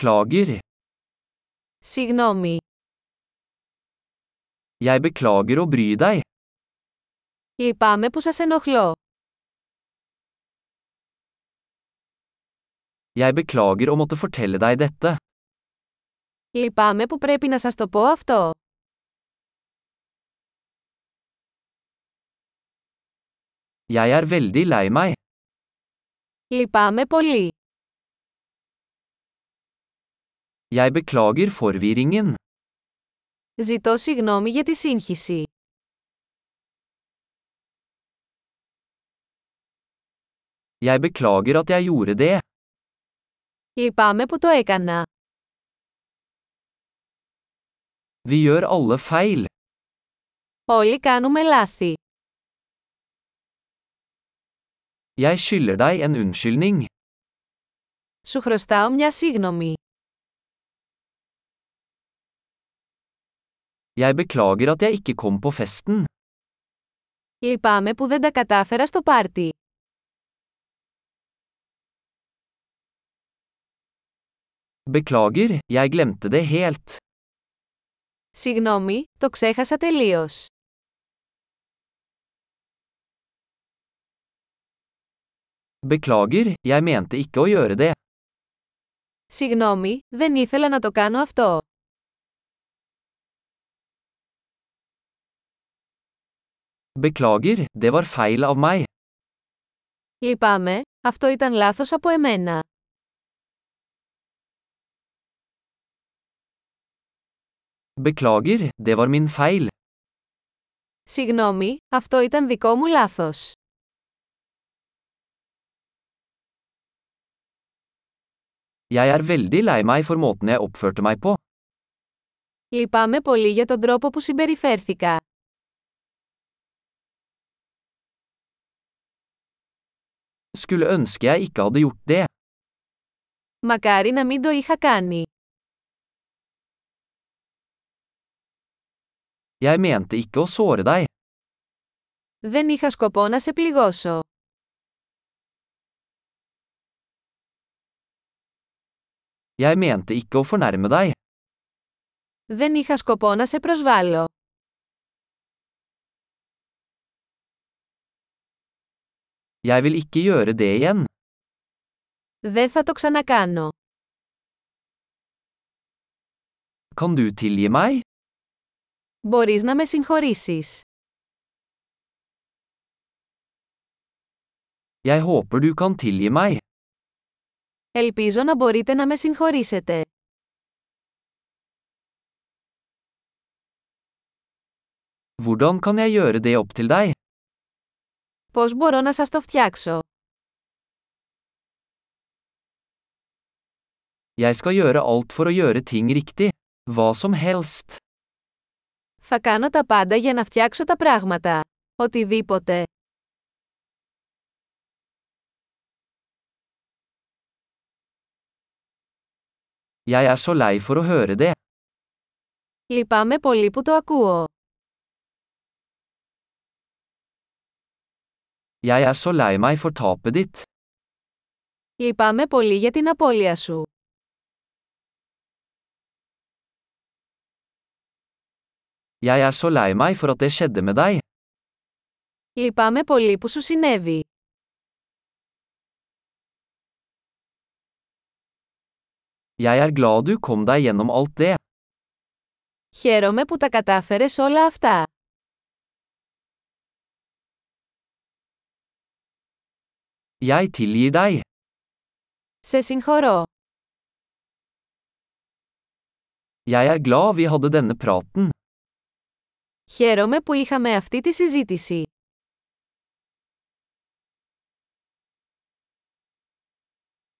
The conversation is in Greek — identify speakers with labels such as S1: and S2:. S1: Beklager.
S2: Συγγνώμη.
S1: Jeg beklager å bry deg.
S2: Λυπάμαι που σας ενοχλώ.
S1: Jeg beklager å måtte fortelle deg dette.
S2: Λυπάμαι που πρέπει να σας το πω αυτό.
S1: Jeg er veldig lei meg.
S2: Λυπάμαι πολύ.
S1: Jeg beklager forvirringen.
S2: Ζητώ συγγνώμη για τη σύγχυση.
S1: Jeg beklager at jeg gjorde det.
S2: Λυπάμαι που το έκανα.
S1: Vi gjør alle feil.
S2: Όλοι κάνουμε λάθη.
S1: Jeg skylder deg en unnskyldning.
S2: Σου χρωστάω μια σύγγνωμη.
S1: Jeg beklager at jeg ikke kom på festen.
S2: Λυπάμαι που δεν τα κατάφερα στο πάρτι.
S1: Beklager, jeg glemte det helt.
S2: Συγγνώμη, το ξέχασα τελείως.
S1: Beklager, jeg mente ikke å gjøre det.
S2: Συγγνώμη, δεν ήθελα να το κάνω αυτό.
S1: Beklager, det var feil av meg.
S2: Λυπάμαι, αυτό ήταν λάθος από εμένα.
S1: Beklager, det var min feil.
S2: Συγγνώμη, αυτό ήταν δικό μου λάθος.
S1: Jeg er veldig lei meg for måten jeg oppførte meg på.
S2: Λυπάμαι πολύ για τον τρόπο που συμπεριφέρθηκα.
S1: Skulle ønske jeg ikke hadde gjort det.
S2: Μακάρι να μην το είχα κάνει.
S1: Jeg mente ikke å såre deg.
S2: Δεν είχα σκοπό να σε πληγώσω.
S1: Jeg mente ikke å fornærme deg.
S2: Δεν είχα σκοπό να σε προσβάλλω.
S1: Jeg vil ikke gjøre det igjen.
S2: Δεν θα το ξανακάνω.
S1: Kan du tilgi meg?
S2: Μπορείς να με συγχωρήσεις.
S1: Jeg håper du kan tilgi meg.
S2: Ελπίζω να μπορείτε να με συγχωρήσετε.
S1: Hvordan kan jeg gjøre det opp til deg?
S2: Πώς μπορώ να σας το φτιάξω.
S1: Jeg skal gjøre alt for å gjøre ting riktig. Hva som helst.
S2: Θα κάνω τα πάντα για να φτιάξω τα πράγματα. Οτιδήποτε.
S1: Jeg er så lei for å høre det.
S2: Λυπάμαι πολύ που το ακούω.
S1: Jeg er så lei meg for tapet ditt.
S2: Λυπάμαι πολύ για την απώλεια σου.
S1: Jeg er så lei meg for at det skjedde med deg.
S2: Λυπάμαι πολύ που σου συνέβη.
S1: Jeg er glad du kom deg gjennom alt det.
S2: Χαίρομαι που τα κατάφερες όλα αυτά.
S1: Jeg tilgir deg.
S2: Σε συγχωρώ.
S1: Jeg er glad vi hadde denne praten.
S2: Χαίρομαι που είχαμε αυτή τη συζήτηση.